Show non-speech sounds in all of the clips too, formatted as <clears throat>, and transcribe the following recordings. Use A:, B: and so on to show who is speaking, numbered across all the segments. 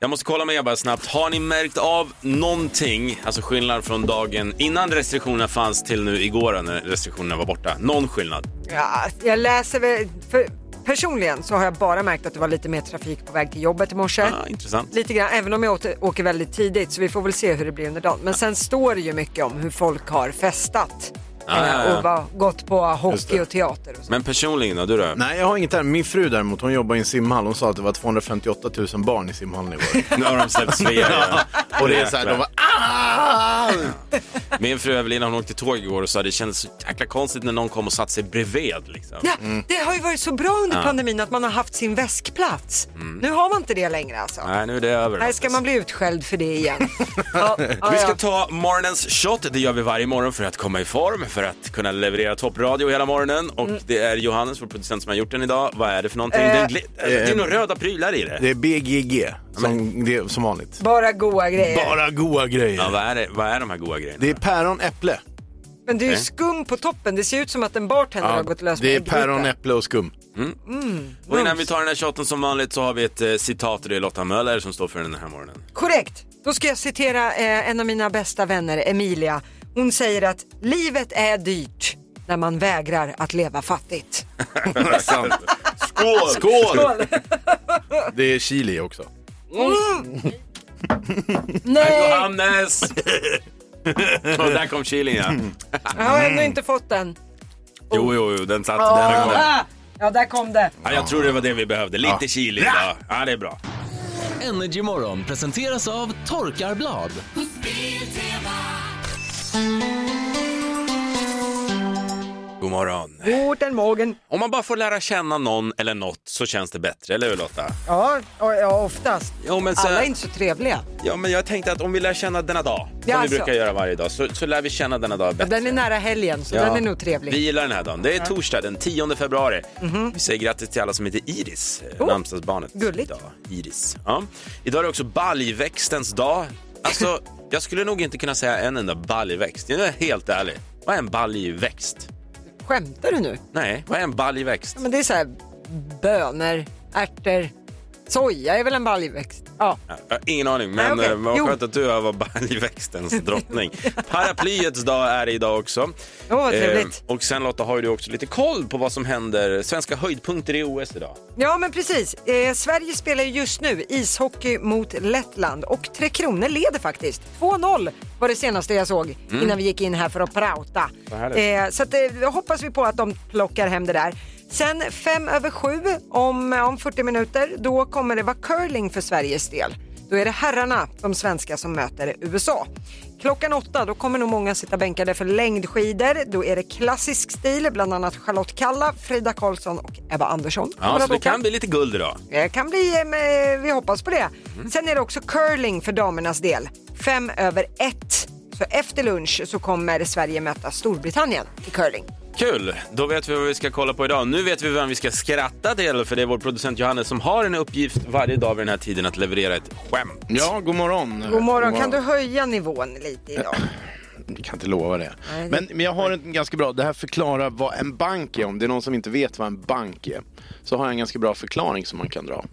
A: Jag måste kolla med er bara snabbt. Har ni märkt av någonting, alltså skillnad från dagen innan restriktionerna fanns till nu igår när restriktionerna var borta? Någon skillnad?
B: Ja, jag läser väl... För personligen så har jag bara märkt att det var lite mer trafik på väg till jobbet i morse.
A: Ah, intressant.
B: Lite grann, även om jag åter, åker väldigt tidigt så vi får väl se hur det blir under dagen. Men sen står det ju mycket om hur folk har festat.
A: Ah,
B: eh,
A: ja, ja.
B: Och var, gått på
A: Just det.
B: hockey och teater och så.
A: Men personligen då, du då?
C: Nej, jag har inget där. Min fru däremot, hon jobbar i en simhall. Hon sa att det var 258 000 barn i simhallen i <laughs> år.
A: Nu har de
B: <laughs>
A: släppts fria igen.
C: Och det är så här, de var ah!
A: Min fru Evelina hon åkte tåg igår och sa det kändes så jäkla konstigt när någon kom och satte sig bredvid. Liksom.
B: Ja, Det har ju varit så bra under pandemin att man har haft sin väskplats. Nu har man inte det längre alltså.
A: Mm. Nej, nu är det över.
B: Nej, ska man bli utskälld för
A: <laughs>
B: det igen? ja, ja,
A: Vi ska
B: ja.
A: ta morgonens shot, det gör vi varje morgon för att komma i form, för att kunna leverera toppradio hela morgonen. Och
B: Mm.
A: det är Johannes, vår producent, som har gjort den idag. Vad är det för någonting? det,
B: Eh,
A: är gl- det är några röda prylar i det.
C: Det är BGG, som, det är, som vanligt.
B: Bara goa grejer.
C: Bara goa
A: Ja,
C: grejer.
A: vad, är det, vad är de här goda grejerna?
C: Det är päron, äpple.
B: Men det är ju skum på toppen. Det ser ut som att en bartender har gått lös på
C: det är
B: en gryta.
C: päron, äpple och skum.
A: och innan vi tar den här shotten som vanligt så har vi ett eh, citat och det är Lotta Möller som står för den här <laughs> morgonen.
B: Korrekt. Då ska jag citera eh, en av mina bästa vänner, Emilia. Hon säger att livet är dyrt när man vägrar att leva fattigt.
C: Skål! Skål! Det är chili också.
B: Mm.
A: <laughs>
B: Nej,
A: Johannes! och där kom chilin ja.
B: jag har ännu inte fått den.
A: Jo, jo, jo, den satt. Den kom.
B: Ah, ja, där kom det.
A: Ja, jag tror det var det vi behövde. Lite chili idag. Ja, det är bra.
D: Energy Morgon presenteras av Torkarblad.
A: God morgon.
B: Vården, magen.
A: Om man bara får lära känna någon eller något så känns det bättre, eller hur Lotta?
B: Ja, och- ja, oftast.
A: Jo, men så-
B: Alla är inte så trevliga.
A: Ja, men jag tänkte att om vi lär känna denna dag, som
B: Ja,
A: vi
B: alltså.
A: brukar göra varje dag, så, så lär vi känna denna dag bättre.
B: Den är nära helgen, så
A: Ja.
B: den är nog trevlig. Mhm.
A: Vi gillar den här dagen. Det är torsdag den 10 februari. Vi säger grattis till alla som heter Iris, eh,
B: Oh,
A: namnsdagsbarnet.
B: gulligt.
A: Idag. Iris. Ja. idag är det också baljväxtens dag.
B: <laughs>
A: Alltså, jag skulle nog inte kunna säga en enda baljväxt. Jag är helt ärlig. Vad är en baljväxt?
B: Skämtar du nu?
A: Nej, vad är en baljväxt?
B: Ja, Men det är så här, bönor, ärtor, soja är väl en baljväxt? Ja.
A: Ja, Jag har ingen aning, men
B: Nej, okej.
A: eh, vad
B: Jo.
A: skönt att du var baljväxtens
B: <laughs>
A: drottning. Paraplyets dag är det idag också. Eh,
B: Åh, vad trevligt.
A: och sen Lotta har ju du också lite koll på vad som händer, svenska höjdpunkter i OS idag.
B: Ja, men precis. Eh, Sverige spelar ju just nu ishockey mot Lettland och Tre Kronor leder faktiskt. 2-0 var det senaste jag såg innan vi gick in här för att prata.
A: Mm. Vad härligt.
B: Eh, så att, eh, hoppas vi på att de plockar hem det där. Sen fem över sju om, om 40 minuter, då kommer det vara curling för Sveriges del. Då är det herrarna, de svenska, som möter USA. Klockan åtta, då kommer nog många sitta bänkade för längdskidor. Då är det klassisk stil, bland annat Charlotte Kalla, Frida Karlsson och Ebba Andersson.
A: Ja,
B: kommer
A: så
B: att
A: det
B: åka.
A: kan bli lite guld idag.
B: Det kan bli, eh, med- vi hoppas på det.
A: Mm.
B: Sen är det också curling för damernas del. Fem över ett. Så efter lunch så kommer Sverige möta Storbritannien i curling.
A: Kul, då vet vi vad vi ska kolla på idag. Nu vet vi vem vi ska skratta till, för det är vår producent Johannes som har en uppgift varje dag vid den här tiden att leverera ett skämt.
C: Ja, god morgon.
A: Mm.
B: God morgon, kan du höja nivån
A: <clears throat>
B: lite idag?
C: Jag kan inte lova det.
B: Nej.
C: Men, men jag har en ganska bra, det här förklarar vad en bank är. Om det är någon som inte vet vad en bank är, så har jag en ganska bra förklaring som man kan dra.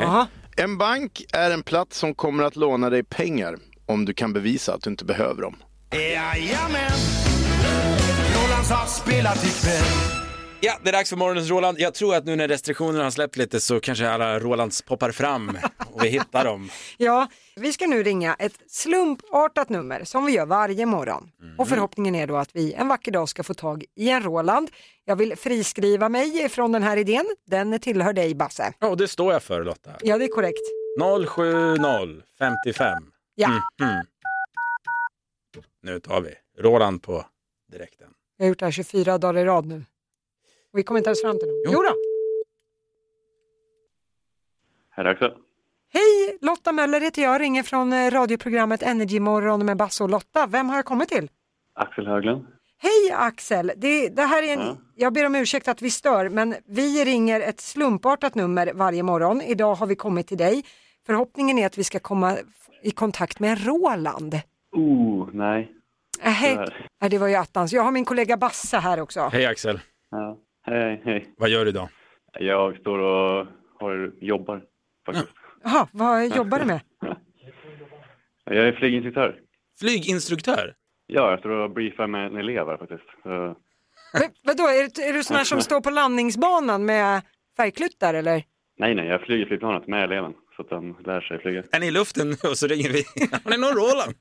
B: Jaha.
C: En bank är en plats som kommer att låna dig pengar om du kan bevisa att du inte behöver dem.
E: Jajamän! Rolands har spelat ikväll.
A: Ja, det är dags för morgonens Roland. Jag tror att nu när restriktionerna har släppt lite så kanske alla Rolands poppar fram och vi hittar dem.
B: Ja, vi ska nu ringa ett slumpartat nummer som vi gör varje morgon.
A: Mm.
B: Och förhoppningen är då att vi en vacker dag ska få tag i en Roland. Jag vill friskriva mig från den här idén. Den tillhör dig Basse.
A: <laughs> Ja, och det står jag för Lotta.
B: Ja, det är korrekt.
A: 070 55.
B: Ja,
A: Mhm. Nu tar vi Roland på direkten.
B: jag har gjort det här 24 dagar i rad nu. Och vi kommer inte ens fram till någon. Jo. då.
F: Här är Axel.
B: Hej, Lotta Möller heter jag, ringer från eh, radioprogrammet Energy Morgon med Basse och Lotta. Vem har jag kommit till?
F: Axel Höglund.
B: Hej Axel! Det, det här är en,
F: Ja.
B: Jag ber om ursäkt att vi stör, men vi ringer ett slumpartat nummer varje morgon. Idag har vi kommit till dig. Förhoppningen är att vi ska komma f- i kontakt med en Roland.
F: Oh, nej.
B: Ähä.
F: Tyvärr.
B: Nej, det var ju attans. Jag har min kollega Basse här också.
A: Hej Axel,
F: Ja. Hej, hej.
A: vad gör du idag?
F: Jag står och har, jobbar faktiskt.
B: Jaha, vad jobbar du med?
F: Jag är flyginstruktör.
A: Flyginstruktör?
F: Ja, jag står och briefar med en elev här faktiskt. Så,
B: Men, vadå, är, det- är du sån här som står på landningsbanan med färgkluttar eller?
F: nej, nej, jag flyger flygplanet med eleven så att de lär sig flyga.
A: Är ni i luften och så ringer vi? <laughs> Har ni någon Roland?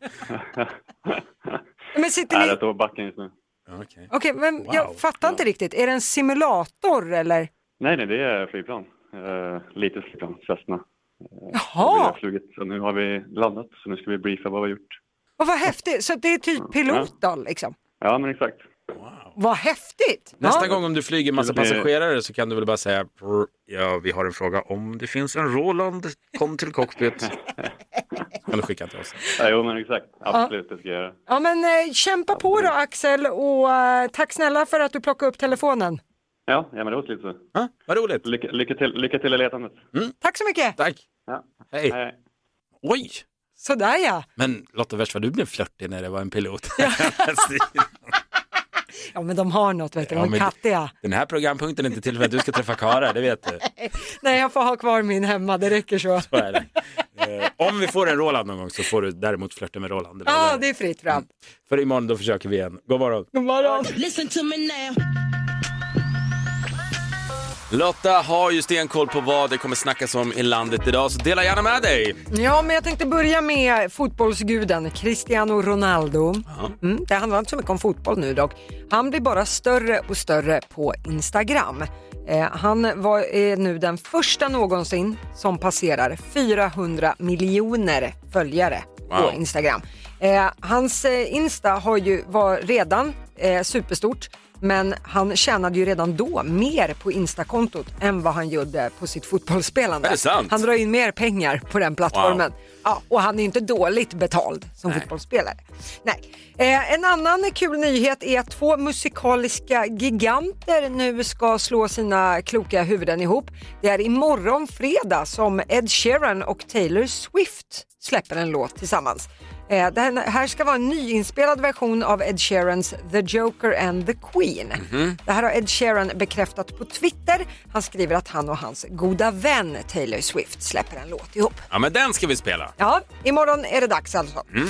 B: Men sitter
F: Nej,
B: ni...
F: jag står på backen just nu.
A: Okej.
B: Okej, men
A: Wow.
B: jag fattar inte riktigt. Är det en simulator eller?
F: Nej, nej, det är flygplan. Uh, litet flygplan, Cessna. Vi har
B: Jaha,
F: flugit, så nu har vi landat. Så nu ska vi briefa vad vi har gjort.
B: och vad häftigt. Så det är typ pilot då liksom?
F: Ja, men exakt.
B: Vad häftigt!
A: Nästa
B: ja.
A: gång om du flyger massa
F: Det blir-
A: passagerare så kan du väl bara säga "Brr, ja, vi har en fråga om det finns en Roland, kom till cockpit. <laughs> Kan du skicka till oss?
F: Ja, jo, men exakt. Absolut, det ska jag göra.
B: Ja men eh, kämpa på då Axel och eh, tack snälla för att du plockade upp telefonen.
F: Ja, ja men det låter lite så.
A: Ja, vad roligt.
F: Lycka, lycka till, lycka till i letandet.
B: Tack så mycket!
A: Tack.
F: Ja.
A: Hej.
F: Hej, hej.
A: Oj,
B: Sådär ja.
A: men Lotta West vad du blev flörtig när det var en pilot.
B: Ja men de har något vet du,
A: Ja,
B: de
A: men-
B: är kattiga.
A: <laughs> Den här programpunkten är inte till för att du ska träffa Kara, det vet du.
B: Nej jag får ha kvar min hemma, det räcker så.
A: Så är det. Eh, om vi får en Roland någon gång så får du däremot flörta med Roland. var
B: Ja
A: det.
B: det är fritt fram.
A: För imorgon då försöker vi igen. God morgon.
B: God morgon.
A: Lotta har ju stenkoll på vad det kommer snackas om i landet idag, så dela gärna med dig.
B: Ja, men jag tänkte börja med fotbollsguden Cristiano Ronaldo. Mm, det handlar inte så mycket om fotboll nu dock. Han blir bara större och större på Instagram. Eh, han var, är nu den första någonsin som passerar 400 miljoner följare
A: Wow.
B: på Instagram. Eh, hans eh, Insta har ju var redan eh, superstort men han tjänade ju redan då mer på Instakontot än vad han gjorde på sitt fotbollsspelande.
A: Är det sant?
B: Han drar in mer pengar på den plattformen. Ja, och han är ju inte dåligt betald som fotbollsspelare. Nej. Eh, en annan kul nyhet är att två musikaliska giganter nu ska slå sina kloka huvuden ihop. Det är imorgon fredag som Ed Sheeran och Taylor Swift släpper en låt tillsammans. Eh, Den här ska vara en nyinspelad version av Ed Sheerans The Joker and the Queen. Det här har Ed Sheeran bekräftat på Twitter. Han skriver att han och hans goda vän Taylor Swift släpper en låt ihop.
A: Ja, men den ska vi spela.
B: Ja, imorgon är det dags alltså.
A: Mm.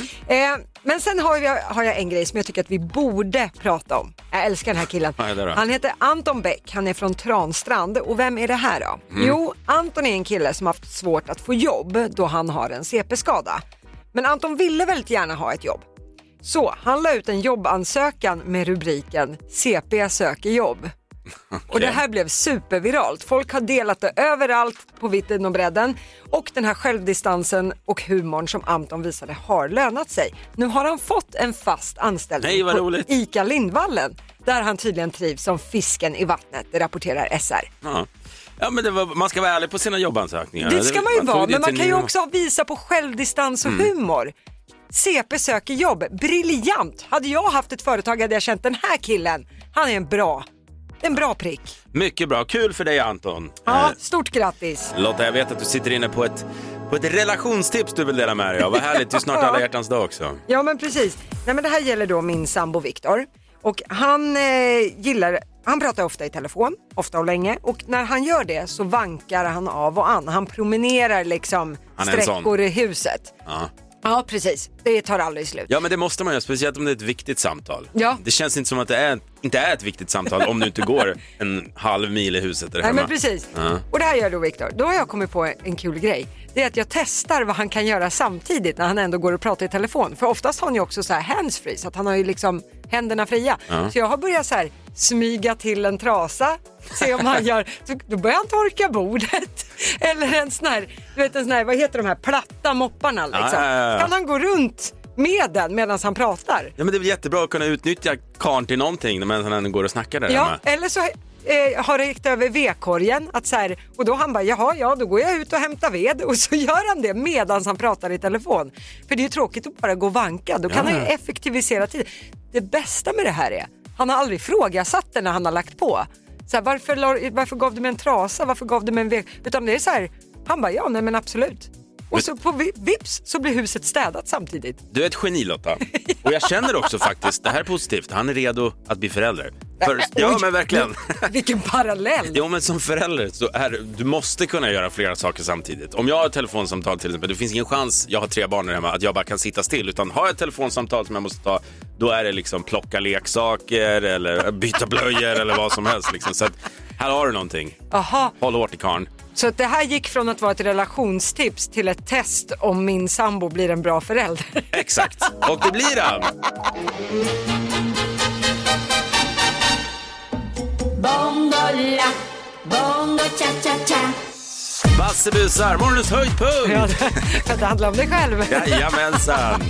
B: Eh, men sen har jag, har jag en grej som jag tycker att vi borde prata om. Jag älskar den här killen.
A: Vad är det då?
B: Han heter Anton Bäck, han är från Transtrand. Och vem är det här då?
A: Mm.
B: Jo, Anton är en kille som haft svårt att få jobb då han har en CP-skada. Men Anton ville väldigt gärna ha ett jobb. Så han la ut en jobbansökan med rubriken CP
A: <laughs>
B: söker jobb. Och det här blev superviralt. Folk har delat det överallt på vitten och bredden. Och den här självdistansen och humorn som Anton visade har lönat sig. Nu har han fått en fast anställning
A: Nej, vad
B: på
A: roligt.
B: ICA Lindvallen. Där han tydligen trivs som fisken i vattnet, det rapporterar SR.
A: Ja. Ja, men det var, man ska vara ärlig på sina jobbansökningar.
B: Det ska man ju
A: tog
B: vara,
A: det
B: men man
A: till Mm.
B: kan ju
A: ny-
B: också visa på självdistans och humor. CP söker jobb, briljant! Hade jag haft ett företag hade jag känt den här killen, han är en bra, en bra prick.
A: Mycket bra. Kul för dig, Anton.
B: Ja, stort grattis!
A: Eh, Lotta, jag vet att du sitter inne på ett, på ett relationstips du vill dela med dig av. Vad härligt. Det är
B: <laughs>
A: snart alla hjärtans dag också.
B: Ja men precis. Nej, men det här gäller då min sambo Viktor. Och han eh, gillar, han pratar ofta i telefon, ofta och länge. Och när han gör det så vankar han av och an. Han promenerar liksom
A: Han är en sån.
B: sträckor i huset.
A: Ja.
B: Ja precis, det tar aldrig slut.
A: Ja, men det måste man göra, speciellt om det är ett viktigt samtal.
B: Ja.
A: Det känns inte som att det är, inte är ett viktigt samtal om du inte går en halv mil i huset där
B: Nej
A: hemma.
B: men precis.
A: Ja.
B: Och det här gör då Viktor. Då har jag kommit på en kul grej. Det är att jag testar vad han kan göra samtidigt när han ändå går och pratar i telefon. För oftast har han ju också så här handsfree så att han har ju liksom händerna fria. Så jag har börjat så här smyga till en trasa, se
A: <laughs>
B: om han gör, så då börjar han torka bordet. <laughs> Eller en sån här, du vet en sån här, vad heter de här platta mopparna liksom.
A: Ja, ja, ja, ja.
B: Kan han gå runt med den medan han pratar?
A: Ja, men det är väl jättebra att kunna utnyttja karn till någonting medan han går och snackar där
B: Ja,
A: hemma.
B: eller så eh, har det gick över vedkorgen att så här, och då han bara jaha ja då går jag ut och hämtar ved <laughs> och så gör han det medan han pratar i telefon. För det är ju tråkigt att bara gå och vanka, då kan han ju effektivisera tiden. Det bästa med det här är, han har aldrig frågasatt det när han har lagt på. Så här, varför, la- varför gav du mig en trasa, varför gav du mig en ved? Utan det är så här, han bara ja nej men absolut. Och så på vi- vips så blir huset städat samtidigt.
A: Du är ett geni Lotta. Och jag känner också faktiskt, det här är positivt, han är redo att bli förälder. För, <laughs> ja, men verkligen.
B: Vilken parallell!
A: <laughs> Jo, men som förälder så är det- du måste kunna göra flera saker samtidigt. Om jag har ett telefonsamtal till exempel, det finns ingen chans, jag har tre barn där hemma, att jag bara kan sitta still. Utan har jag ett telefonsamtal som jag måste ta, då är det liksom plocka leksaker eller byta blöjor eller vad som helst. Liksom. Så att, här har du någonting.
B: Aha,
A: Håll hårt i karln.
B: så att det här gick från att vara ett relationstips till ett test om min sambo blir en bra förälder. <laughs>
A: Exakt. Och det blir han.
G: Bondola, bongo cha cha cha.
A: Basse busar, morgonens höjdpunkt.
B: För att det handlar om dig själv. <laughs>
A: Jajamensan!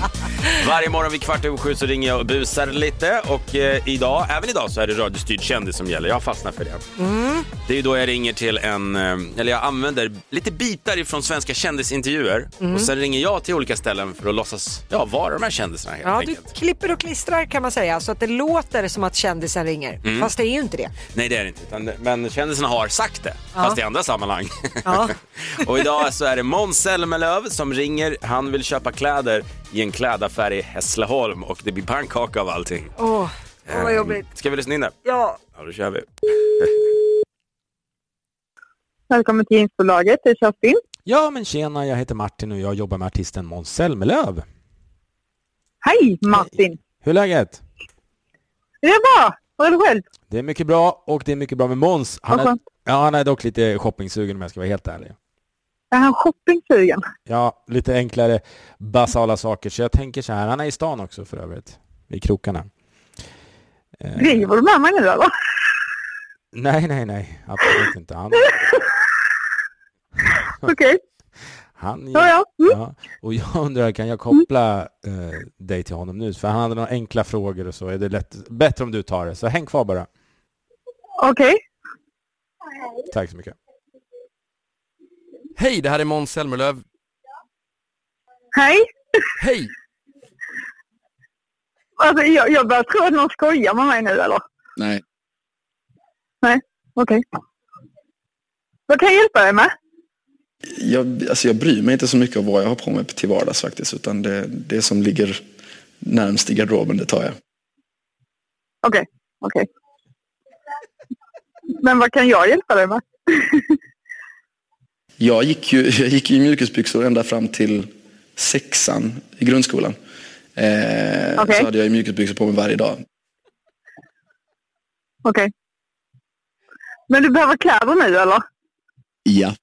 A: Varje morgon vid kvart över sju så ringer jag och busar lite och eh, idag, även idag så är det radiostyrd kändis som gäller. Jag fastnar för det.
B: Mm.
A: Det är ju då jag ringer till en, eh, eller jag använder lite bitar ifrån svenska kändisintervjuer
B: Mm.
A: och sen ringer jag till olika ställen för att låtsas ja, vara de här kändisarna helt
B: Ja, du
A: enkelt.
B: klipper och klistrar kan man säga så att det låter som att kändisen ringer. Fast det är ju inte det.
A: Nej det är det inte, utan, men kändisarna har sagt det, fast i andra sammanhang.
B: Ja.
A: <laughs> och idag så är det Måns Zelmerlöw som ringer, han vill köpa kläder i en klädaffär i Hässleholm och det blir pannkaka av allting. Ehm,
B: Åh, oh, vad jobbigt.
A: Ska vi lyssna in det?
B: Ja,
A: Ja, då kör vi.
H: Välkommen till Jeansbolaget, det är Kerstin.
I: Ja men tjena, jag heter Martin och jag jobbar med artisten Måns Zelmerlöw.
H: Hej Martin!
I: Hur är läget?
H: Det är bra! Hur är det själv?
I: Det är mycket bra och det är mycket bra med Måns. Han,
H: Vad
I: är,
H: skönt.
I: ja, han är dock lite shoppingsugen om jag ska vara helt ärlig.
H: Är han shoppingsugen?
I: Ja, lite enklare basala saker. Så jag tänker så här, han är i stan också för övrigt. I krokarna.
H: Driver du med mig nu eller?
I: Nej, nej, nej. Absolut inte. Han,
H: Okej,
I: han
H: ja ja. Mm.
I: Ja, och jag undrar, kan jag koppla eh, dig till honom nu? För han hade några enkla frågor och så. Är det lätt, bättre om du tar det? Så häng kvar bara.
H: Okej.
I: Tack så mycket.
J: Hej, det här är Måns Zelmerlöw.
H: Hej!
J: Hej!
H: <laughs> Alltså, jag, jag börjar tro att någon skojar med mig nu eller?
E: Nej.
H: Nej, okej. Vad kan jag hjälpa dig med?
K: Jag, alltså jag bryr mig inte så mycket om vad jag har på mig till vardags faktiskt. Utan det, det som ligger närmst i garderoben, det tar jag.
H: Okej, okej. Men vad kan jag hjälpa dig med?
K: Jag gick ju, <laughs> jag gick i mjukisbyxor ända fram till sexan i grundskolan. Eh,
H: Okej.
K: Så hade jag ju mjukisbyxor på mig varje dag.
H: Okej. Men du behöver kläder nu eller?
K: Ja.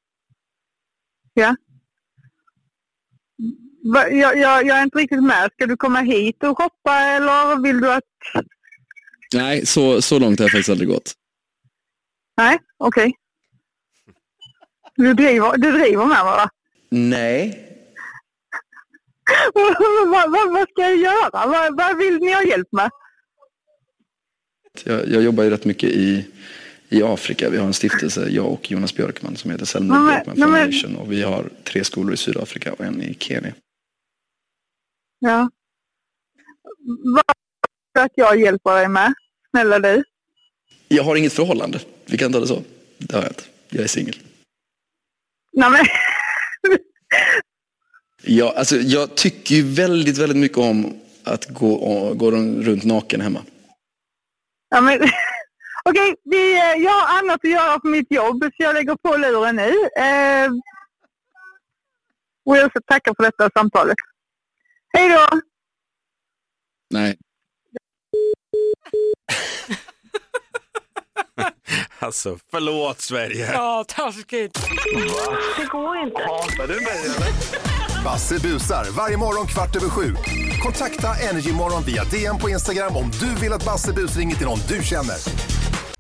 H: Ja. Va, jag, jag, jag är inte riktigt med. Ska du komma hit och shoppa eller vill du att...
K: Nej, så, så långt har jag faktiskt aldrig gått.
H: Nej, okej. Du, driver, du driver med mig va? <laughs>
K: Nej.
H: vad, vad, vad ska jag göra? Vad, vad vill ni ha hjälp med?
K: Jag, jag jobbar ju rätt mycket i, i Afrika. Vi har en stiftelse, jag och Jonas Björkman, som heter Selma
H: Men-
K: Björkman
H: men-
K: Foundation. Och vi har tre skolor i Sydafrika och en i Kenya.
H: Ja. Vad vill du att jag hjälper dig med? Snälla du.
K: Jag har inget förhållande. Vi kan ta det så. Det har jag inte. Jag är singel.
H: Nej, men,
K: Jag, alltså, jag tycker ju väldigt, väldigt mycket om att gå, och, gå runt naken hemma.
H: ja, men, <laughs> okej, vi, eh, jag har annat att göra på mitt jobb så jag lägger på luren nu. Eh, och jag ska tacka för detta samtalet. Hej då!
K: Nej.
A: Alltså, förlåt Sverige.
B: ja taskigt.
E: Basse busar varje morgon kvart över sju. Kontakta Energymorgon via DM på Instagram om du vill att Basse bus ringer till någon du känner.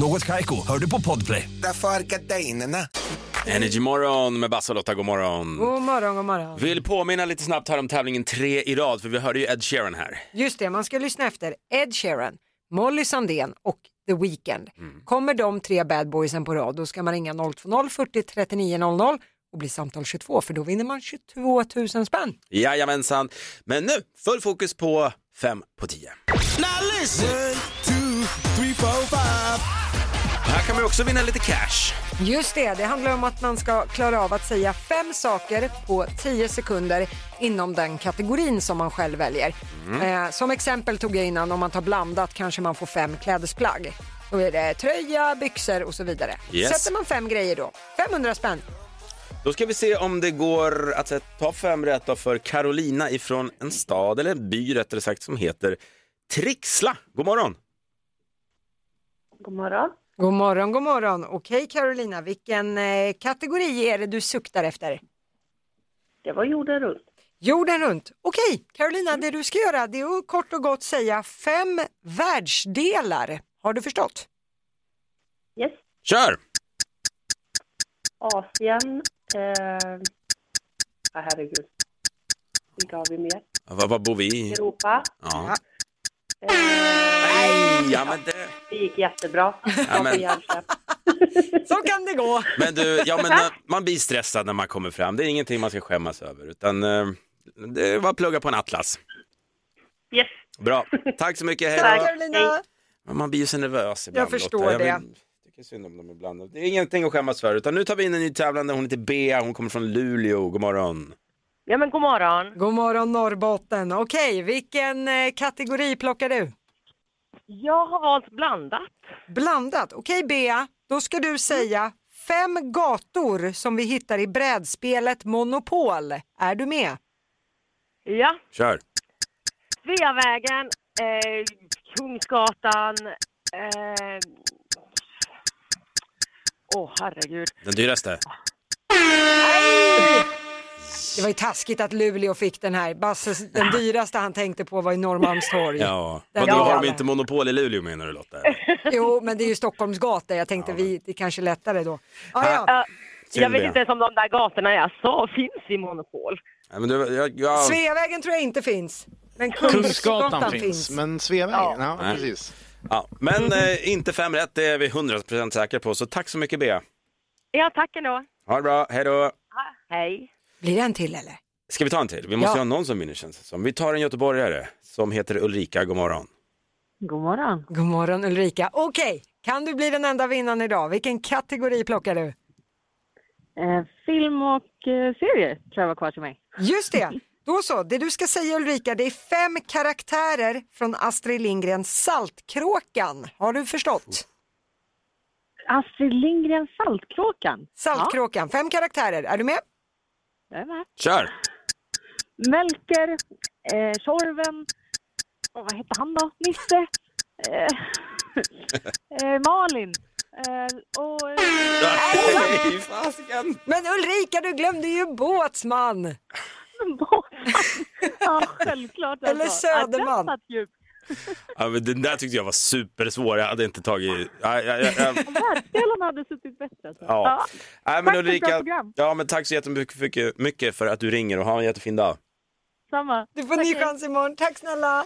E: Något Kaiko, hör du på Podplay.
J: Därför arkadeinerna.
A: Energy morgon med Basse och Lotta, god morgon.
B: God morgon, god morgon.
A: Vill påminna lite snabbt här om tävlingen tre i rad, för vi hörde ju Ed Sheeran här.
B: Just det, man ska lyssna efter Ed Sheeran, Molly Sandén och The Weeknd. Kommer de tre bad boysen på rad då ska man ringa 020-40 39 00 och bli samtal 22 för då vinner man 22 000 spänn.
A: Jajamensan. Men nu, full fokus på fem på tio.
L: Now listen. Two, three, four, five.
A: Här kan man ju också vinna lite cash.
B: Just det, det handlar om att man ska klara av att säga fem saker på 10 sekunder inom den kategorin som man själv väljer.
H: Mm.
B: Eh, som exempel tog jag innan, om man tar blandat kanske man får fem klädesplagg. Då är det tröja, byxor och så vidare.
A: Yes.
B: Sätter man fem grejer då, 500 spänn.
A: Då ska vi se om det går att ta fem rätt då för Carolina ifrån en stad eller en by rättare sagt som heter Trixla. God morgon!
B: God morgon. God morgon, god morgon. Okej Carolina, vilken eh, kategori är det du suktar efter? Det var jorden runt. Jorden runt. Okej, Carolina, det du ska göra det är att kort och gott säga fem världsdelar. Har du förstått?
H: Yes.
A: Kör!
H: Asien. Eh, ja, herregud. Vilka har vi mer?
A: Var, var bor vi? i?
H: Europa.
A: Ja.
H: Eh,
A: ja, men det...
H: gick jättebra.
A: Ja, men-
B: Så kan det gå.
A: Men du, ja, men, eh, man blir stressad när man kommer fram. Det är ingenting man ska skämmas över. Utan eh, det var att plugga på en atlas.
H: Yes.
A: Bra. Tack så mycket. Hej
B: Tack
A: då.
B: Carolina.
A: Men Man blir ju så nervös ibland.
B: Jag förstår
A: Lotta.
B: det.
A: vill- tycker synd om dem ibland. Det är ingenting att skämmas för. Utan nu tar vi in en ny tävlande. Hon heter Bea. Hon kommer från Luleå. God morgon.
H: Ja, men god morgon.
B: God morgon Norrbotten. Okej, vilken eh, kategori plockar du?
H: Jag har valt blandat.
B: Blandat. Okej Bea, då ska du säga fem gator som vi hittar i brädspelet Monopol. Är du med?
H: Ja.
A: Kör.
H: Sveavägen. Eh, Kungsgatan. eh, Åh, herregud.
A: Den dyraste.
B: Det var ju taskigt att Luleå fick den här. Basse, den dyraste han tänkte på var i Norrmalmstorg.
A: Ja.
B: Den
A: Vadå, har de
B: galen.
A: inte monopol i Luleå menar du Lotta?
B: Jo, men det är ju Stockholmsgator. Jag tänkte vi, det är kanske är lättare då.
H: Ja,
A: synd
H: Jag vet
A: det.
H: inte ens om de där gatorna jag sa finns i Monopol.
A: Nej, men du, jag, jag...
B: Sveavägen tror jag inte finns. Men Kungsgatan finns.
A: men Sveavägen,
C: ja, precis.
A: Ja, men eh, inte fem rätt, det är vi 100% säkra på. Så tack så mycket Bea.
H: Ja, tack ändå.
A: Ha det bra, hej då.
H: Ja, Hej.
B: Blir det en till eller?
A: Ska vi ta en till? Vi måste
H: Ja.
A: ha någon som vinner känns det som. Vi tar en göteborgare som heter Ulrika, god morgon.
H: God morgon.
B: God morgon Ulrika. Okej, kan du bli den enda vinnaren idag? Vilken kategori plockar du?
H: Eh, film och eh, serier tror jag var kvar till mig.
B: Just det. <laughs> Då så, det du ska säga Ulrika, det är fem karaktärer från Astrid Lindgrens Saltkråkan. Har du förstått?
H: Astrid Lindgren Saltkråkan.
B: Saltkråkan, fem karaktärer. Är du med?
H: Jag är med.
A: Kör!
H: Melker, eh, Tjorven, åh, vad hette han då? Nisse, eh, <laughs> eh, Malin eh, och...
A: Nej, fasiken!
B: Men Ulrika, du glömde ju båtsman!
H: <laughs> Ja, självklart.
B: Eller
H: alltså.
B: Söderman.
H: Ja, den satt djupt.
A: Ja, men den där tyckte jag var supersvår, jag hade inte tagit... Ja, ja, ja, ja.
H: Världsdelarna hade suttit bättre. Alltså.
A: <laughs> Ja. Nej, men
H: Tack för ett bra
A: Ulrika,
H: program.
A: ja, men tack så jättemycket mycket- mycket för att du ringer och ha en jättefin dag.
H: Samma.
B: Du får en ny chans imorgon. Tack snälla!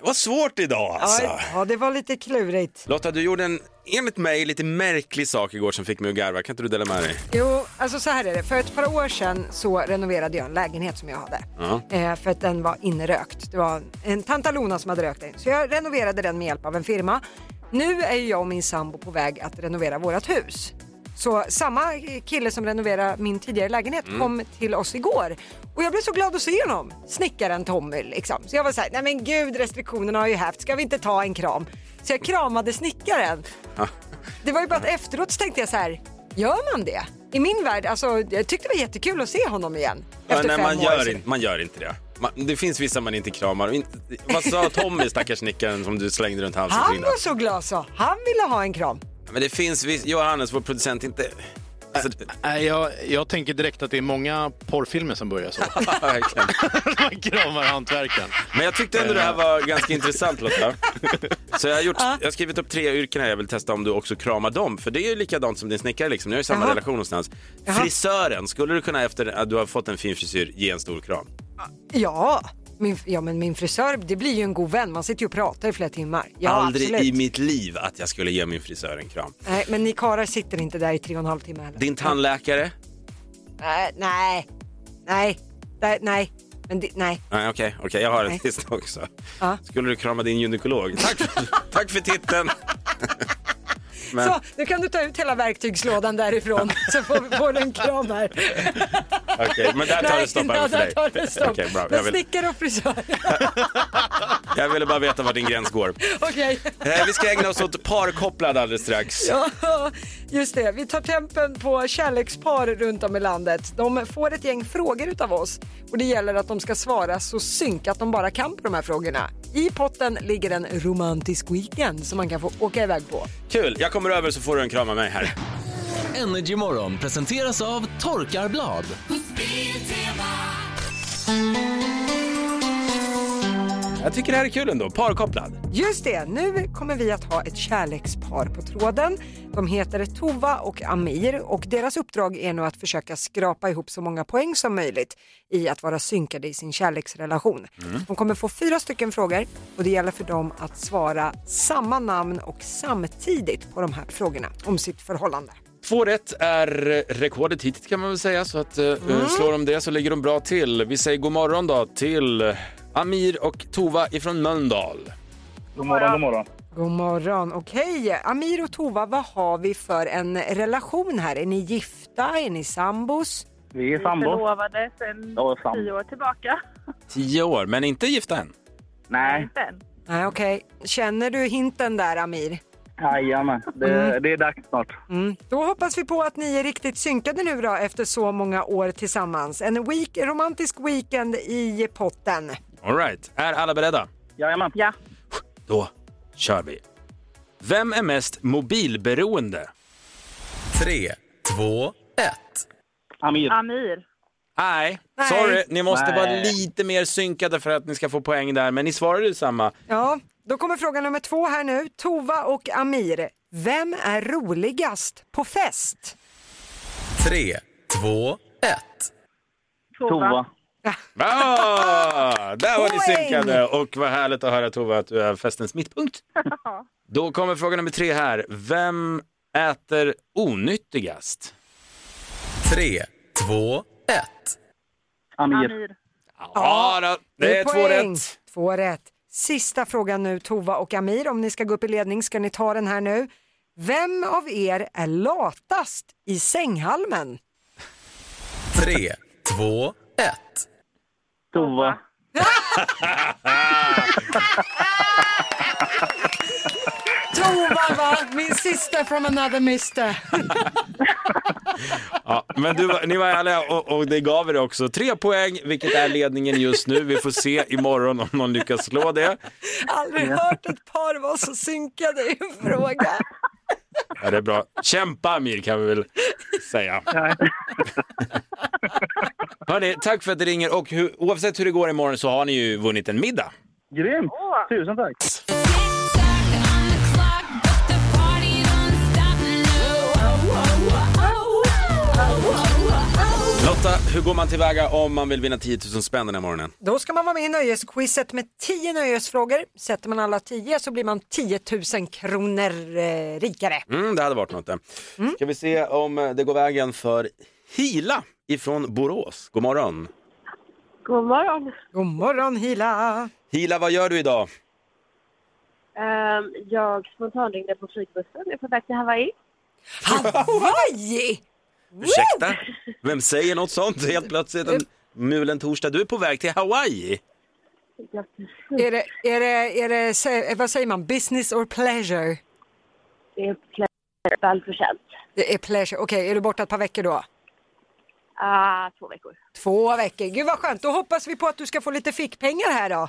A: Det var svårt idag alltså.
B: Ja, ja, det var lite klurigt.
A: Lotta, du gjorde en, enligt mig, lite märklig sak igår som fick mig att garva. Kan inte du dela med dig?
B: Jo, alltså så här är det. För ett par år sedan så renoverade jag en lägenhet som jag hade.
A: Ja.
B: Eh, för att den var inrökt. Det var en tantalona som hade rökt den. Så jag renoverade den med hjälp av en firma. Nu är ju jag och min sambo på väg att renovera vårt hus. Så samma kille som renoverade min tidigare lägenhet
H: Mm.
B: kom till oss igår. Och jag blev så glad att se honom. Snickaren Tommy liksom. Så jag var så här, nej men gud restriktionerna har ju hävt. Ska vi inte ta en kram? Så jag kramade snickaren. Det var ju bara att efteråt så tänkte jag så här, gör man det? I min värld, alltså jag tyckte det var jättekul att se honom igen.
A: Ja,
B: Efter
A: nej,
B: fem
A: man,
B: år.
A: gör inte, man gör inte det. Man, det finns vissa man inte kramar. Inte- Vad sa Tommy, stackars snickaren som du slängde runt halsen?
B: Han
A: Frida?
B: var så glad så, han ville ha en kram.
A: Men det finns viss, Johannes, vår producent, inte... Alltså, <laughs>
C: Nej, jag, jag tänker direkt att det är många porrfilmer som <laughs> börjar så. Man kramar hantverkaren.
A: men jag tyckte ändå det här var ganska intressant Lotta. Så jag har, gjort, jag har skrivit upp tre yrken här, jag vill testa om du också kramar dem. För det är ju likadant som din snickare liksom, ni har ju samma
B: Jaha.
A: relation någonstans.
B: Jaha.
A: Frisören, skulle du kunna efter att du har fått en fin frisyr ge en stor kram?
B: Ja, Min, ja, men min frisör, det blir ju en god vän. Man sitter ju och pratar i flera timmar. Ja,
A: Aldrig
B: absolut.
A: i mitt liv att jag skulle ge min frisör en kram.
B: Nej, men ni karlar sitter inte där i tre och en halv timme heller.
A: Din tandläkare?
B: Nej, nej, nej, nej, nej. Men det, nej.
A: Nej, okej, okej, jag har en
B: Nej.
A: sista också.
B: Ja.
A: Skulle du krama din gynekolog? Tack,
B: <laughs>
A: för- tack för titeln! Men-
B: Så, nu kan du ta ut hela
A: <laughs>
B: verktygslådan därifrån så får, får du en kram här.
A: Okej, men där tar
B: Nej,
A: det stopp
B: ja,
A: även för
B: där
A: dig.
B: tar det stopp.
A: Okej, bra. Jag
B: Men
A: vill-
B: snickare och frisör,
A: Jag ville bara veta var din gräns går.
B: okej.
A: Eh, Vi ska ägna oss åt parkopplad alldeles strax.
B: Ja, just det. Vi tar tempen på kärlekspar runt om i landet. De får ett gäng frågor utav oss och det gäller att de ska svara så synkat de bara kan på de här frågorna. I potten ligger en romantisk weekend som man kan få åka iväg på.
A: Kul, jag kommer över så får du en kram av mig här.
D: Energy Morgon presenteras av Torkarblad.
A: Jag tycker det här är kul ändå, parkopplad.
B: Just det, nu kommer vi att ha ett kärlekspar på tråden. De heter Tova och Amir och deras uppdrag är nu att försöka skrapa ihop så många poäng som möjligt i att vara synkade i sin kärleksrelation.
M: Mm.
B: De kommer få fyra stycken frågor och det gäller för dem att svara samma namn och samtidigt på de här frågorna om sitt förhållande.
A: Två rätt är eh, rekordet hittills kan man väl säga, så att eh,
B: Mm.
A: slår de det så ligger de bra till. Vi säger god morgon då till eh, Amir och Tova ifrån Mölndal.
N: God morgon, god morgon.
B: God morgon. Okej, Amir och Tova, vad har vi för en relation här? Är ni gifta? Är ni sambos?
N: Vi är
H: Förlovade sen
A: Ja, sambo.
H: tio år tillbaka.
A: Tio år, men inte gifta än.
N: Nej,
B: Nej, okej. Känner du hinten där, Amir?
N: jajamän. Det, det är dags snart.
B: Mm. Då hoppas vi på att ni är riktigt synkade nu då efter så många år tillsammans. En week, romantisk weekend i potten.
A: All right. Är alla beredda?
N: Jajamän.
H: Ja.
A: Då kör vi. Vem är mest mobilberoende? 3, 2, 1.
N: Amir.
H: Amir.
A: Nej,
H: Nej.
A: sorry. Ni måste
H: Nej.
A: vara lite mer synkade för att ni ska få poäng där, men ni svarade ju samma.
B: Ja, då kommer fråga nummer två här nu. Tova och Amir, vem är roligast på fest?
A: 3, 2, 1.
N: Tova.
A: Ah, där var ni
N: Poäng!
A: synkade och vad härligt att höra Tova att du är festens mittpunkt. Då kommer fråga nummer tre här. Vem äter onyttigast? 3, 2, 1.
N: Amir.
A: Ja, då, det är två
B: poäng.
A: rätt.
B: Två rätt. Sista frågan nu, Tova och Amir. Om ni ska gå upp i ledning ska ni ta den här nu. Vem av er är latast i sänghalmen?
A: 3, 2, 1.
N: Tova.
B: Tova, va? Min sister from another mister.
A: Ja, men du, var- ni var ärliga och, och det gav er också tre poäng, vilket är ledningen just nu. Vi får se imorgon om någon lyckas slå det.
B: Aldrig hört ett par vara så synkade i en fråga.
A: Ja, det är bra. Kämpa Amir kan vi väl säga. Hörni, tack för att ni ringer och hur, oavsett hur det går imorgon så har ni ju vunnit en middag.
N: Grymt! Tusen tack.
A: Lotta, hur går man tillväga om man vill vinna 10 000 spänn den här morgonen?
B: Då ska man vara med i nöjesquizet med 10 nöjesfrågor. Sätter man alla 10 så blir man 10 000 kronor eh, rikare.
A: Mm, det hade varit något det. Ska vi se om det går vägen för Hila ifrån Borås. God morgon.
H: God morgon.
B: God morgon Hila!
A: Hila, vad gör du idag?
H: Ehm, jag spontanringde på flygbussen. Jag är på väg till Hawaii.
B: Hawaii!
A: Ursäkta? Vem säger något sånt helt plötsligt en mulen torsdag? Du är på väg till Hawaii.
B: Är det, är det, är det, sä- eh, vad säger man, business or pleasure?
H: Det är pleasure, välförtjänt.
B: Det är pleasure. Okej, är du borta ett par veckor då?
H: Ah, två veckor.
B: Två veckor. Gud vad skönt. Då hoppas vi på att du ska få lite fickpengar här då.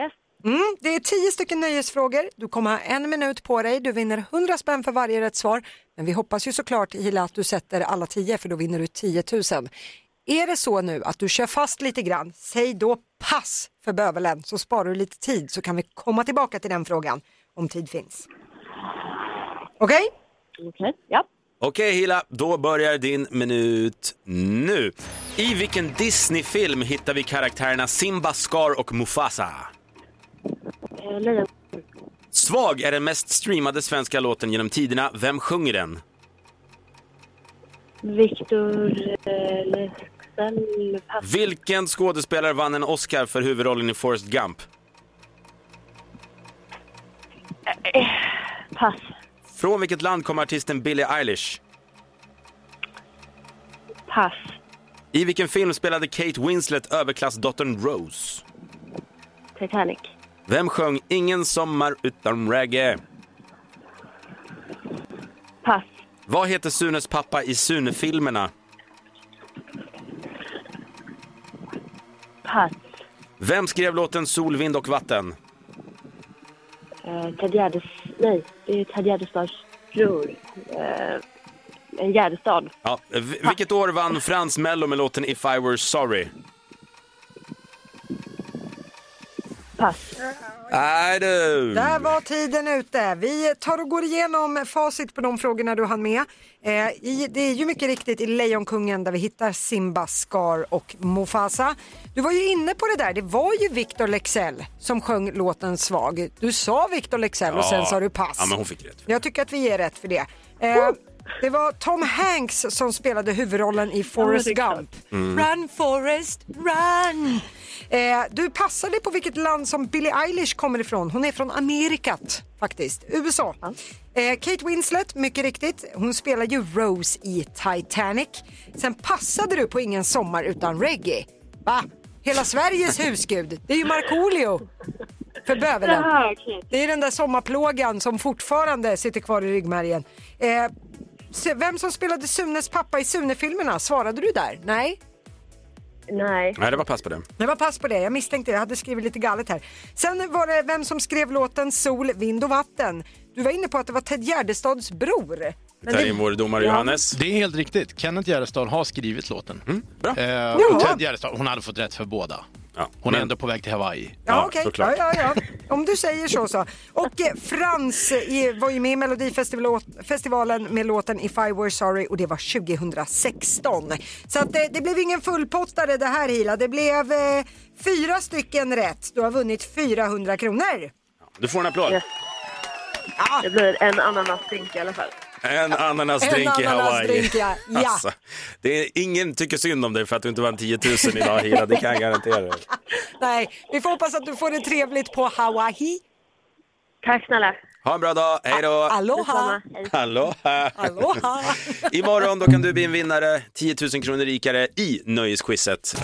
H: Yes.
B: Mm, det är tio stycken nöjesfrågor. Du kommer ha en minut på dig. Du vinner 100 spänn för varje rätt svar. Men vi hoppas ju såklart Hila att du sätter alla tio för då vinner du 10 000. Är det så nu att du kör fast lite grann, säg då pass för bövelen så sparar du lite tid så kan vi komma tillbaka till den frågan om tid finns. Okej?
H: Okej, ja.
A: Okej Hila, då börjar din minut nu. I vilken Disney-film hittar vi karaktärerna Simba, Scar och Mufasa?
H: Eh, Lejon.
A: Svag är den mest streamade svenska låten genom tiderna. Vem sjunger den?
H: Viktor eh, Leksell. Pass.
A: Vilken skådespelare vann en Oscar för huvudrollen i Forrest Gump?
H: Eh, pass.
A: Från vilket land kommer artisten Billie Eilish?
H: Pass.
A: I vilken film spelade Kate Winslet överklassdottern Rose?
H: Titanic.
A: Vem sjöng Ingen sommar utan reggae?
H: Pass.
A: Vad heter Sunes pappa i Sune-filmerna?
H: Pass.
A: Vem skrev låten Sol, vind och vatten?
H: Eh, Ted Gärdes... Nej, det är Ted Gärdestads bror. Eh, en Gärdestad.
A: Ja, v- vilket år vann Frans Mello med låten If I Were Sorry?
H: Pass.
A: Nej du!
B: Där var tiden ute. Vi tar och går igenom facit på de frågorna du hann med. Eh, i, det är ju mycket riktigt i Lejonkungen där vi hittar Simba, Scar och Mufasa. Du var ju inne på det där, det var ju Victor Lexell som sjöng låten Svag. Du sa Victor Lexell och sen sa du pass.
A: Ja, men hon fick rätt.
B: Jag tycker att vi ger rätt för det. Eh, det var Tom Hanks som spelade huvudrollen i Forrest
H: Ja, det är
B: Gump.
A: Mm.
B: Run Forrest, run! Eh, du passade på vilket land som Billie Eilish kommer ifrån. Hon är från Amerikat faktiskt, USA. Eh, Kate Winslet, mycket riktigt. Hon spelar ju Rose i Titanic. Sen passade du på Ingen sommar utan reggae. Va? Hela Sveriges husgud, det är ju Markoolio för bövelen.
H: Jaha, okej.
B: Det är den där sommarplågan som fortfarande sitter kvar i ryggmärgen. Eh, se- vem som spelade Sunes pappa i Sune-filmerna, svarade du där? Nej?
H: Nej.
A: Nej, det var pass på den.
B: Det var pass på det, jag misstänkte det. Jag hade skrivit lite galet här. Sen var det vem som skrev låten Sol, vind och vatten. Du var inne på att det var Ted Gärdestads bror. Men
A: tar
B: det-
A: in vår domare Johannes.
C: Det är helt riktigt. Kenneth Gärdestad har skrivit låten.
A: Bra.
C: Eh,
B: Ja.
C: och Ted Gärdestad, hon hade fått rätt för båda. Hon är ändå på väg till Hawaii.
B: Ja, okej. Ja, ja, ja. Om du säger så så. Och eh, Frans eh, var ju med i Melodifestivalen med låten If I Were Sorry och det var 2016. Så att, eh, det blev ingen fullpottare det här Hila. Det blev eh, fyra stycken rätt. Du har vunnit 400 kronor.
A: Du får en applåd.
H: Det blir en ananasdrink i alla fall.
A: En ananasdrink i Hawaii.
H: En
A: <laughs>
H: ananasdrink, ja. Ja.
A: Alltså, det är, ingen tycker synd om dig för att du inte vann 10 000 idag Hila, det kan jag garantera.
B: Nej, vi får hoppas att du får det trevligt på Hawaii.
H: Tack snälla.
A: Ha en bra dag, hej då!
B: Ah, Aloha!
A: Aloha!
B: Aloha!
A: <laughs> Imorgon då kan du bli en vinnare, 10 000 kronor rikare i nöjesquizet.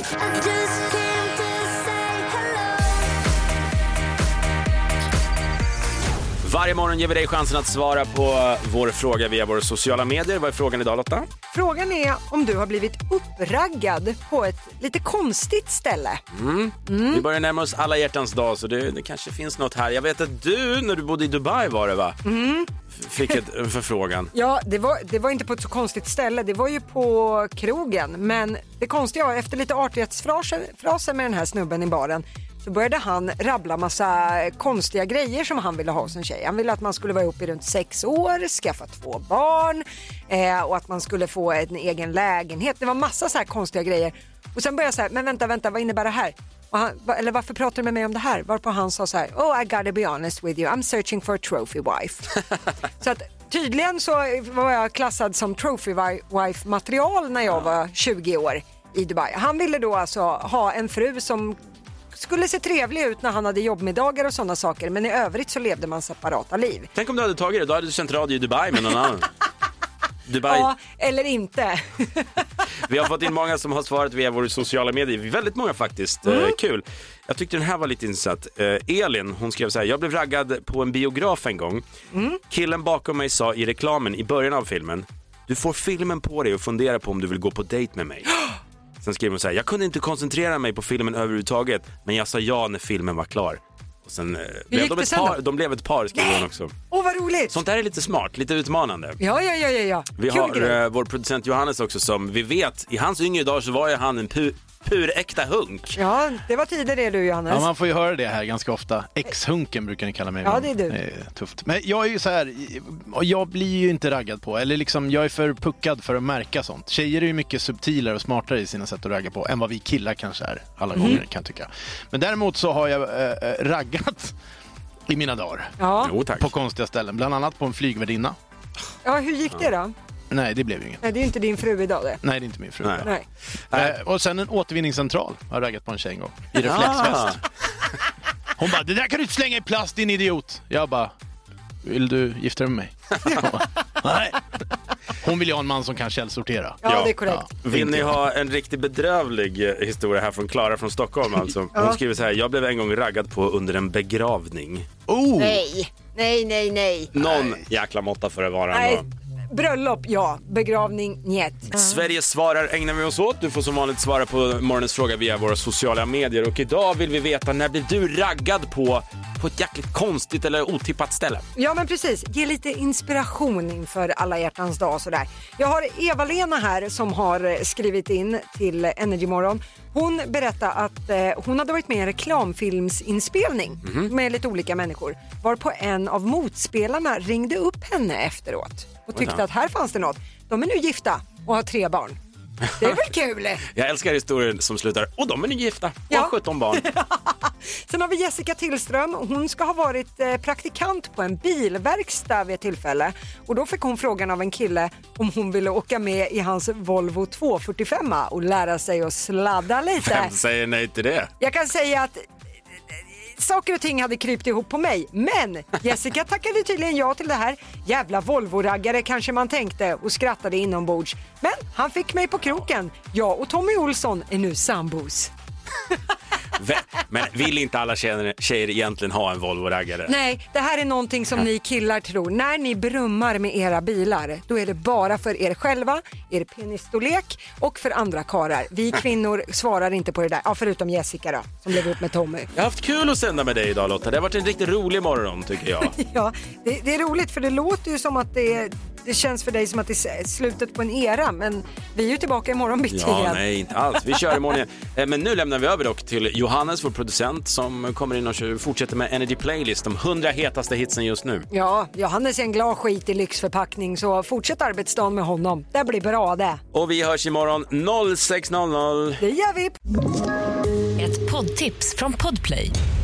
A: Varje morgon ger vi dig chansen att svara på vår fråga via våra sociala medier. Vad är frågan idag Lotta?
B: Frågan är om du har blivit uppraggad på ett lite konstigt ställe.
A: Mm. Vi börjar närma oss alla hjärtans dag så det, det kanske finns något här. Jag vet att du, när du bodde i Dubai var det va?
B: Mm.
A: F- Fick ett, en förfrågan.
B: Ja, det var, det var inte på ett så konstigt ställe. Det var ju på krogen. Men det konstiga var, efter lite artighetsfraser med den här snubben i baren så började han rabbla massa konstiga grejer som han ville ha som tjej. Han ville att man skulle vara ihop i runt sex år, skaffa två barn eh, och att man skulle få en egen lägenhet. Det var massa så här konstiga grejer. Och sen började jag så här, men vänta, vänta, vad innebär det här? Och han, va- eller varför pratar du med mig om det här? Varpå han sa så här, oh I gotta be honest with you, I'm searching for a trophy wife. så att tydligen så var jag klassad som trophy wi- wife material när jag var 20 år i Dubai. Han ville då alltså ha en fru som skulle se trevlig ut när han hade jobbmiddagar och sådana saker men i övrigt så levde man separata liv.
A: Tänk om du hade tagit det, då hade du sänt radio i Dubai med någon
B: <laughs>
A: annan. Dubai.
B: Ja, eller inte. <laughs>
A: Vi har fått in många som har svarat via våra sociala medier. Väldigt många faktiskt.
B: Mm.
A: Eh, kul. Jag tyckte den här var lite intressant. Eh, Elin, hon skrev så här. Jag blev raggad på en biograf en gång.
B: Mm.
A: Killen bakom mig sa i reklamen i början av filmen. Du får filmen på dig och fundera på om du vill gå på dejt med
B: <gasps>
A: mig. Sen skrev hon så här. Jag kunde inte koncentrera mig på filmen överhuvudtaget. Men jag sa ja när filmen var klar. Och sen, eh, blev
B: gick
A: de,
B: det
A: ett
B: sen då?
A: par, de blev ett par skrev hon också.
B: Åh vad roligt!
A: Sånt där är lite smart, lite utmanande.
B: Ja, ja, ja, ja, ja.
A: Vi
B: Kul
A: har
B: grej.
A: eh, vår producent Johannes också som vi vet, i hans yngre dagar så var ju han en pu- Puräkta hunk.
B: Ja, det var tider det du Johannes.
C: Ja, man får ju höra det här ganska ofta. Ex-hunken brukar ni kalla mig.
B: Alltså- Ja, det är du.
C: tufft. Men jag är ju så här, och jag blir ju inte raggad på, eller liksom jag är för puckad för att märka sånt. Tjejer är ju mycket subtilare och smartare i sina sätt att ragga på än vad vi killar kanske är alla
B: Mhm.
C: gånger kan jag tycka. Men däremot så har jag eh, eh, raggat i mina dagar.
B: Ja.
C: På konstiga ställen, bland annat på en flygvärdinna.
B: Ja, hur gick det då?
C: Nej, det blev ju inget.
B: Nej, det är ju inte din fru idag det.
C: Nej, det är inte min fru.
B: Nej.
C: Eh, och sen en återvinningscentral har jag raggat på en tjej en gång.
B: Ah.
C: I
A: Ah.
C: reflexväst. Hon bara, det där kan du inte slänga i plast din idiot. Jag bara, vill du gifta dig med mig? Hon bara, Nej. Hon vill ju ha en man som kan källsortera. Ja.
A: Vill ni ha en riktigt bedrövlig eh, historia här från Klara från Stockholm alltså? Hon
B: Ja.
A: skriver så här, jag blev en gång raggad på under en begravning.
C: Oh.
B: Nej, nej, nej, nej.
A: Någon jäkla måtta för det vara
B: Nej.
A: ändå.
B: Bröllop, ja. Begravning, njet.
A: Sveriges svarar ägnar vi oss åt. Du får som vanligt svara på morgonens fråga via våra sociala medier. Och idag vill vi veta, när blev du raggad på, på ett jäkligt konstigt eller otippat ställe?
B: Ja men precis, ge lite inspiration inför alla hjärtans dag och sådär. Jag har Eva-Lena här som har eh, skrivit in till Energymorgon. Hon berättade att eh, hon hade varit med i en reklamfilmsinspelning
M: Mhm.
B: med lite olika människor varpå en av motspelarna ringde upp henne efteråt och tyckte
A: Vänta.
B: att här fanns det något. De är nu gifta och har tre barn. Det är väl kul?
A: Jag älskar historien som slutar, och de är nu gifta och har 17 barn.
B: Sen har vi Jessica Tillström. Hon ska ha varit eh, praktikant på en bilverkstad vid ett tillfälle. Och då fick hon frågan av en kille om hon ville åka med i hans Volvo 245 och lära sig att sladda lite.
A: Vem säger nej till det?
B: Jag kan säga att eh, saker och ting hade krypt ihop på mig. Men Jessica tackade tydligen ja till det här. Jävla Volvo-raggare kanske man tänkte och skrattade inombords. Men han fick mig på kroken. Jag och Tommy Olsson är nu sambos.
A: Vä- Men vill inte alla tjejer, tjejer egentligen ha en Volvo-raggare?
B: Nej, det här är någonting som ni killar tror. När ni brummar med era bilar, då är det bara för er själva, er penisstorlek och för andra karar. <laughs> Vi kvinnor svarar inte på det där, ja, förutom Jessica då, som blev ihop med Tommy.
A: Jag har haft kul att sända med dig idag Lotta. Det har varit en riktigt rolig morgon tycker jag.
B: <laughs> Ja, det, det är roligt för det låter ju som att det, det känns för dig som att det är slutet på en era, men vi är ju tillbaka imorgon bitti
A: Ja,
B: igen.
A: nej, inte alls. Vi kör imorgon igen. Eh, Men nu lämnar vi över dock till Johannes, vår producent, som kommer in och kör- fortsätter med Energy Playlist, de 100 hetaste hitsen just nu.
B: Ja, Johannes är en glad skit i lyxförpackning så fortsätt arbetsdagen med honom. Det blir bra det.
A: Och vi hörs imorgon 06.00.
B: Det gör vi.
G: Ett poddtips från Podplay.